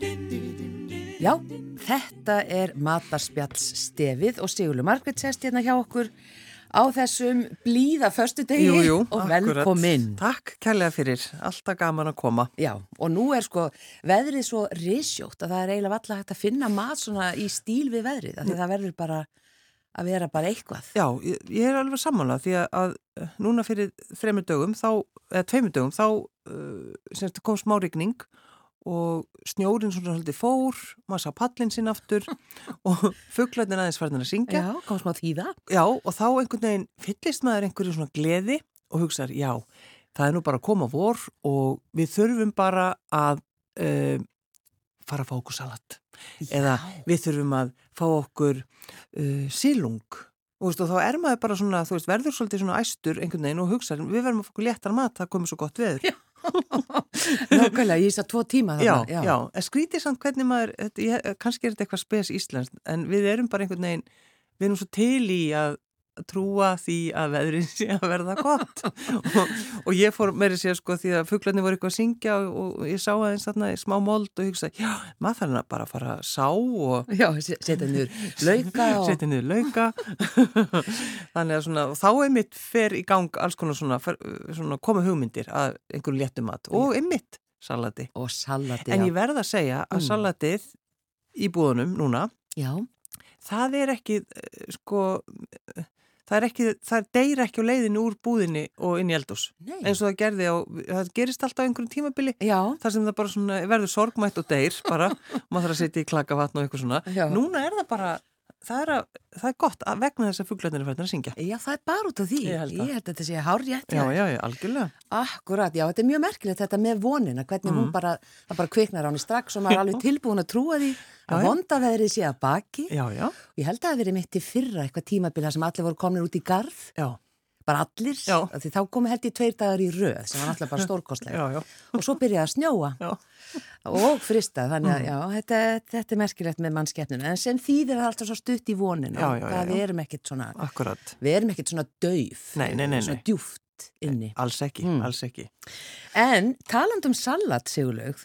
Já, þetta er Matarspjalls stefið og Sigurlu Margrét sest hérna hjá okkur á þessum blíða föstudegi Jú, jú, og akkurat. velkominn. Takk kærlega fyrir, alltaf gaman að koma Já, og nú er sko veðrið svo risjótt að það er eiginlega valla hægt að finna mat svona í stíl við veðrið af því það verður bara að vera bara eitthvað. Já, ég, ég er alveg sammála því að, að eh, núna fyrir þremur dögum þá, eða tveimur dögum þá uh, semst kom smá rigning og snjórin svona haldið fór maður sá pallin sinn aftur og fugglarnir aðeins farnir að syngja Já, kom smá þýða. Já, og þá einhvern veginn fyllist maður einhverju svona gleði og hugsaður, já, það er nú bara að koma vor og við þurfum bara að uh, fara að fá okkur salat. Eða Já. við þurfum að fá okkur uh, sílung. Og, veist, og þá er maður bara svona, þú veist, verður svolítið svona æstur einhvern veginn og hugsaður, við verðum að fá okkur léttan mat, það komið svo gott veður. Nákvæmlega, ég sá tvo tíma Já, þarna. já, en skrítið samt hvernig maður, þetta, ég, kannski er þetta eitthvað spes íslenskt, en við erum bara einhvern veginn, við erum svo til í að trúa því að veðrið sé að verða gott og, og ég fór meiri sér sko því að fugglarnir voru eitthvað að syngja og, og ég sá aðeins þarna í smá mold og hugsa, já, maður þarf að bara að fara að sá og Já, se- setja niður lauka og... setja niður lauka þannig að svona, og þá einmitt fer í gang alls konar svona, fer, svona koma hugmyndir að einhverju léttumat og einmitt salati og salati. En já. ég verð að segja að Mm. salatið í búðunum núna, Já, það er ekki, eh, sko, eh, það er ekki, það deyr ekki á leiðinu úr búðinni og inn í eldús. nei. Eins og það gerði á, það gerist alltaf á einhverjum tímabili, Já, þar sem það bara svona verður sorgmætt og deyr bara, og maður þarf að setja í klakavatn og eitthvað svona. já. Núna er það bara, það er, að, það er gott að vegna þess að fugglarnir er fættin að syngja. já, það er bara út af því. Ég held það. að þetta sé hár rétt. Já, já, já, algjörlega. Akkurat, já, þetta er mjög merkilegt þetta með vonina, hvernig Mm. hún bara, það bara kviknar á henni strax og maður er alveg tilbúin að trúa því að Já, já. vondaveðrið sé að baki. Já, já, Ég held að það hafi verið mitt í fyrra eitthvað tímabil þar sem allir voru komin út í garð, já, bara allir, Já. af því þá komi held ég tveir dagar í röð sem var alltaf bara já, stórkostlega já, og svo byrjaði að snjóa já. Mm. og fristað, þannig að já, þetta, þetta er merkilegt með mannskeppnuna, en sem þýðir það alltaf svo stutt í vonina, Já, já, já, það já. við erum ekkit svona, akkurat. við erum ekkit svona dauf, Nei, nei, nei, svona nei. djúft inni. Alls ekki, Mm. alls ekki. En taland um salat, Sigurlaug,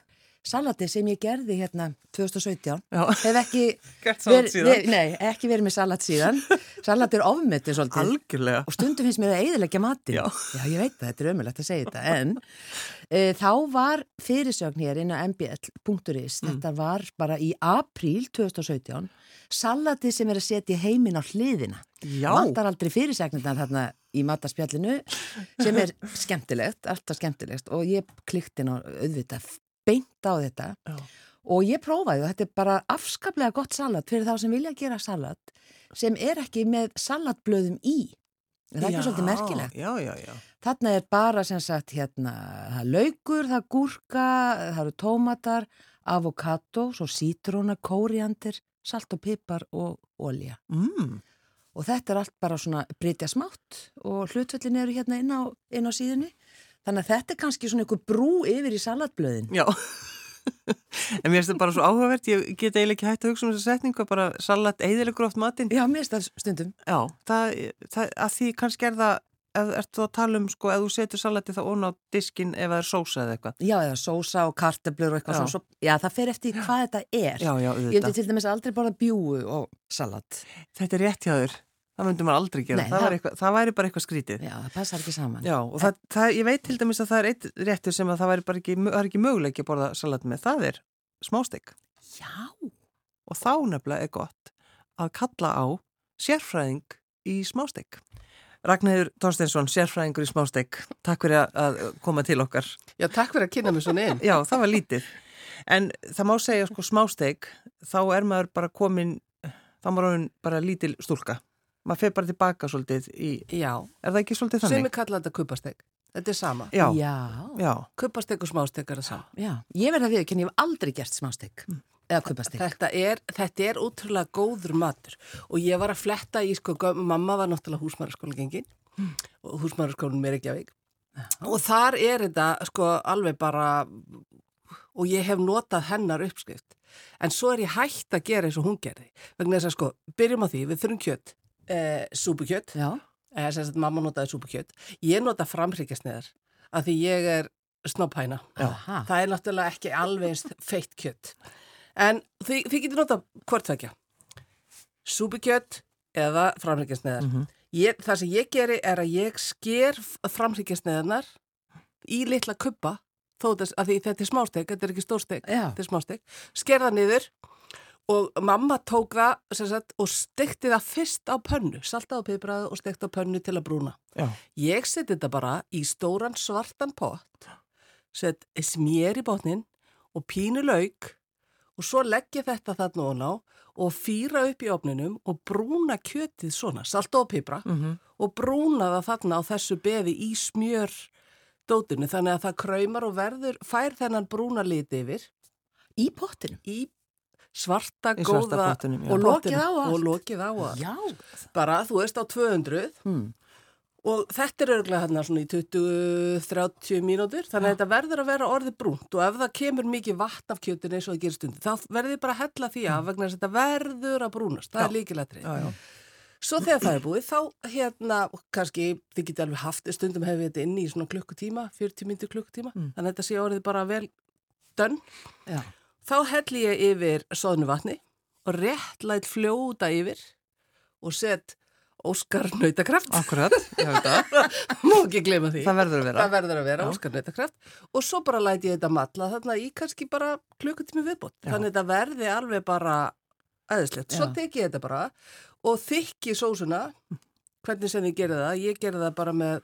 salati sem ég gerði hérna 2017, Já. hef ekki, Gert salat verið- síðan. nei, nei, ekki verið með salat síðan. Salat er ofmetið svolítið. Algjörlega. og stundum finnst mér að eiðilegja matinn. Já. ég veit það, þetta er ömulegt að segja þetta. En e, þá var fyrirsögn hér inn á mbl.is, Mm. þetta var bara í apríl 2017, salati sem er að setja heiminn á hliðina. Já. Vantar aldrei fyrirsegnirnar þarna í mataspjallinu sem er skemmtilegt, alltaf skemmtilegt og ég klikti ná auðvitað beint á þetta Já. og ég prófaði og þetta er bara afskaplega gott salat fyrir þá sem vilja gera salat sem er ekki með salatblöðum í. Er Það er ekki svolítið merkilegt. Já, já, já. Þarna er bara sem sagt hérna, það er laukur, það er gúrka, það eru tómatar, avokado, svo sítróna, kóriandir, salt og pipar og olja. Mm. Og þetta er allt bara svona breytja smátt og hlutföllin eru hérna inn á, inn á síðunni. Þannig að þetta er kannski svona einhver brú yfir í salatblöðin. Já. en mér finnst það bara svo áhugavert, ég get eiginlega ekki hægt að hugsa um þessa setningu, bara salat eiginlega gróft matinn. Já, mér stað stundum. Já, það, það, að því kannski er það, ef, ertu að tala um, sko, ef þú setur salati þá ón á diskin ef það er sósa eða eitthvað. Já, eða sósa og karteblur og eitthvað Já. svona. Svo, já, það fer eftir í hvað þetta er. Já, já, Ég hefði auðvitað. til dæmis aldrei borða bjúu og salat. Þetta er rétt hjá þér. Það myndum maður aldrei gera. Nei, það, það- væri eitthvað, það væri bara eitthvað skrítið. Já, það passar ekki saman. Já, og það, það, ég veit til dæmis að það er eitt réttur sem að það væri bara ekki, það er ekki möguleiki að borða salat með. Það er smástek. Já. og þá nefnilega er gott að kalla á sérfræðing í smástek. Ragnhildur Torstensson, sérfræðingur í smástek, takk fyrir að- að koma til okkar. Já, takk fyrir að kynna mér svona inn. Já, það var lítið. En það má segja sko smástek, þá er maður bara komin, þá er maður orðin bara lítil stúlka. Maður fer bara tilbaka svolítið í, Já, er það ekki svolítið sem þannig? er kallað þetta kupasteg. Þetta er sama. Já, já, Já. já, Kupasteg og smásteg er það sama. Já, ég verða að viðkynna, ég hef aldrei gert smástegg eða kubastegg. Þetta er, þetta er útrúlega góður matur og ég var að fletta í sko, göm- mamma var náttúrulega húsmaraskóla gengin Hmm. og húsmaraskólanum er ekki að veik og þar er þetta sko alveg bara og ég hef notað hennar uppskrift En svo er ég hægt að gera eins og hún gerði. Vegna þess að sko, byrjum á því, við þurfum kjött, e, súpukjött, já, eða Eh, sem sagt mamma notaði súpukjött. Ég nota framhryggjasneðar, af því ég er snoppæna. aha, Það er náttúrulega ekki alveg eins feitt kjött. En þið, þið getur nota hvort þakja. Súpukjött eða framhryggjasneðar. Mhm. Ég, það sem ég geri er að ég sker framhryggjasneðarnar í litla kubba, þó þess að því þetta er smástek, þetta er ekki stórstek já, þetta er smástek, skerða niður og mamma tók það sem sagt, og stekti það fyrst á pönnu, saltaði og pipraði og stekti á pönnu til að brúna. Já. Ég seti þetta bara í stóran svartan pott, set smér í botnin og pínu lauk og svo legg ég þetta þarna og ná og fýra upp í opninum og brúna kjötið svona, salta og pipra Mhm. og brúna það þarna á þessu beði í smjör dótinu þannig að það kraumar og verður, fær þennan brúna lit yfir í pottinum, í svarta, Í svarta góða pottinum, já. og lokið á allt. og lokið á allt. já, bara þú veist á 200 hmm. og þetta er örglega hérna svona í 20-30 mínútur þannig að þetta verður að vera orðið brúnt og ef það kemur mikið vatn af kjötinu eins og það gerir stundu þá verður bara að hella því af vegna þess að þetta verður að brúnast, það Hmm. Já. er líkilættrið Já, já. Svo þegar það er búið, þá hérna, kannski, þið geti alveg haft, stundum hefur við þetta inni í svona klukkutíma, 40 myndir klukkutíma, Mm. þannig að þetta sé orðið bara vel dönn. Já. Þá helli ég yfir soðnu vatni og rétt læt fljóta yfir og set Óskar nautakraft, Akkurat, ég veit það. má ekki gleyma því. Ah. Það verður að vera. Það verður að vera Já. Óskar nautakraft og svo bara læt ég þetta matla þarna í kannski bara klukkutími viðbót. Já. Þannig að þetta verði alveg bara aðeinslegt. Svo Já. tek ég þetta bara og þykki sósuna, hvernig sem ég gerði það, ég gerði það bara með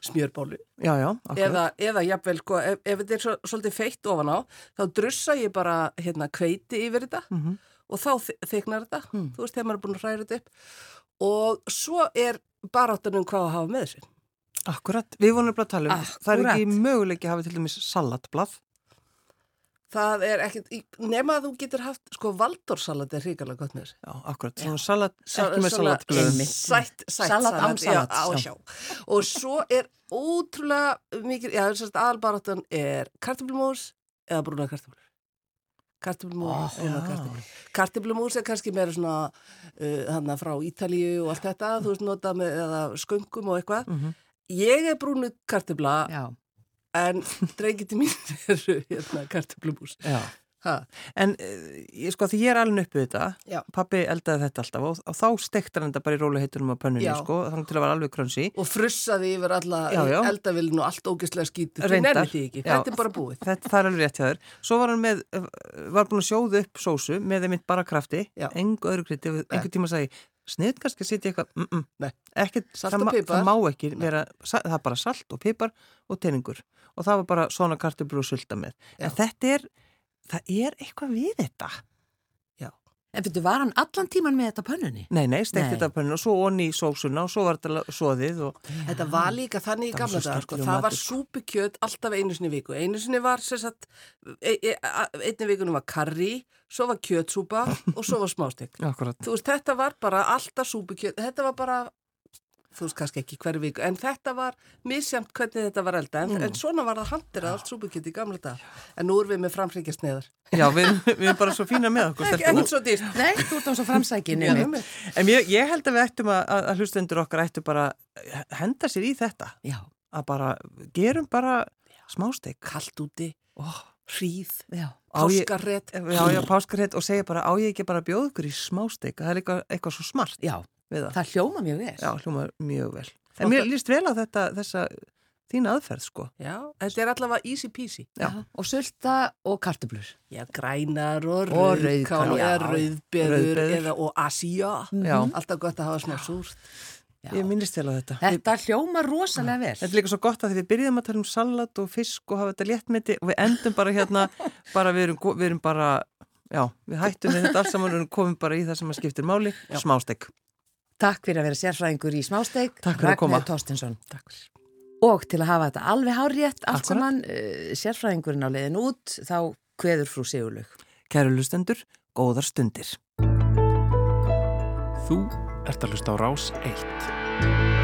smjörbólu Já, já, akkurat. eða, eða jafnvel, sko, ef, ef þetta er svo, svolítið feitt ofan á, þá drussa ég bara hérna kveiti yfir þetta Mhm. og þá þy- þykknar þetta, Hmm. þú veist, þegar maður er búin að hræra þetta upp og svo er baráttan um hvað að hafa með þessu. Akkurat, við vorum nefnilega að tala um Akkurat. það er ekki möguleiki að hafa til dæmis salatblað Það er ekkert, í- nema að þú getur haft, sko, valdórsalat er hrikalega gott með þessu. Já, akkurat, svona salat, Sa- ekki með salat- salatblöð Einmitt. Sætt, sætt Salat án já, salats, á, já. sjá. Og svo er ótrúlega mikil, já, þess að aðalbaráttan er kartöflumús eða brúna kartöflur. Kartöflumús, Ó, brúna já. kartöflur. Kartöflumús er kannski meira svona uh, hana frá Ítalíu og allt þetta, þú veist, nota með eða sköngum og eitthvað. Mhm. Ég er brúnu kartöfla já, en dreikið til mín eru hérna kartöflumús. Já. Ha, En eh, ég, sko því ég er alveg uppið þetta Já. pappi eldaði þetta alltaf og, og þá stektar hann þetta bara í róliheitunum á pönnunni Já. sko, þannig til að vera alveg krönsi og frussaði yfir alla Já, já. eldavilin og allt ógeðslega skítið. Þú Reyndar. nefnir því ekki, Já. þetta er bara búið. Þetta það er alveg rétt hjá þér Svo var hann með, eh, var búin að sjóða upp sósu með þeim mitt bara krafti, Já. engu öðru kriti einhver tíma sagði, snið kannski að sitja eitthvað mm Nei. -mm. Ekkit, Salt það, og ma- pipar. það má ekki vera, sa- það er bara salt og pipar og teiningur og það var bara svona kartublu og sulta með Já. En þetta er, það er eitthvað við þetta en fyrir var hann allan tíman með þetta á pönnunni? Nei, nei, stekt Nei. þetta pönnu og svo onni í sósuna og svo var þetta la- soðið og Þetta var líka þannig í Það var svo gamla dag, sko. sterkur það var matur, sko. súpukjöt alltaf einu sinni í viku. Einu sinni var, sem sagt, e, e, a- einni vikunum var karri, svo var kjötsúpa og svo var smástek. Akkurat Þú veist, þetta var bara alltaf súpukjöt, þetta var bara, þú veist kannski ekki hverju viku, en þetta var misjæmt hvernig þetta var elda. En, Mm. en svona var það handir að allt súpukjöt í gamla dag. En nú erum við með framfrikjast neðar. Já, við, við erum bara svo fína með okkur Ekki, stelpur. ekki svo dýrt. Nei, þú ert á svo framsækin Já, einmitt. einmitt. En ég, ég held að við ættum að, að- að hlustendur okkar ættum bara að henda sér í þetta Já, að bara gerum bara smásteik Kalt úti, hríð, já, Á ég- páskarrett. já, já, páskarhett og segja bara á ég ekki bara að bjóða ykkur í smásteik það er eitthvað, eitthvað svo smart já, við það, það hljóma mjög vel. já, hljómaður mjög vel en mér líst vel á þetta, þessa þína aðferð sko Já, þetta er allavega easy peasy. Já. Og sulta og kartublur. Já, grænar og Og rauðkál rauðkál, eða já. rauðbeður Rauðbeður. eða og asía. já, Alltaf gott að hafa smá súrt. Já. ég minnist vel á þetta Þetta hljóma rosalega vel. Þetta er líka svo gott að því við byrjum að tala um salat og fisk og hafa þetta léttmeti og við endum bara hérna, bara við erum, við erum bara, já, við hættum við þetta alls saman og erum komin bara í það sem að skiptir máli, smástekk. Takk fyrir að vera sérfræðingur í smásteik. Takk fyrir að koma. Ragnar Tóstinsson. Takk fyrir. Og til að hafa þetta alveg hárétt allt Akkúrat. saman, uh, sérfræðingurinn á leiðin út, þá kveður frú Sigurlaug. Kæru lustendur, góðar stundir. Þú ert að hlusta á Rás 1.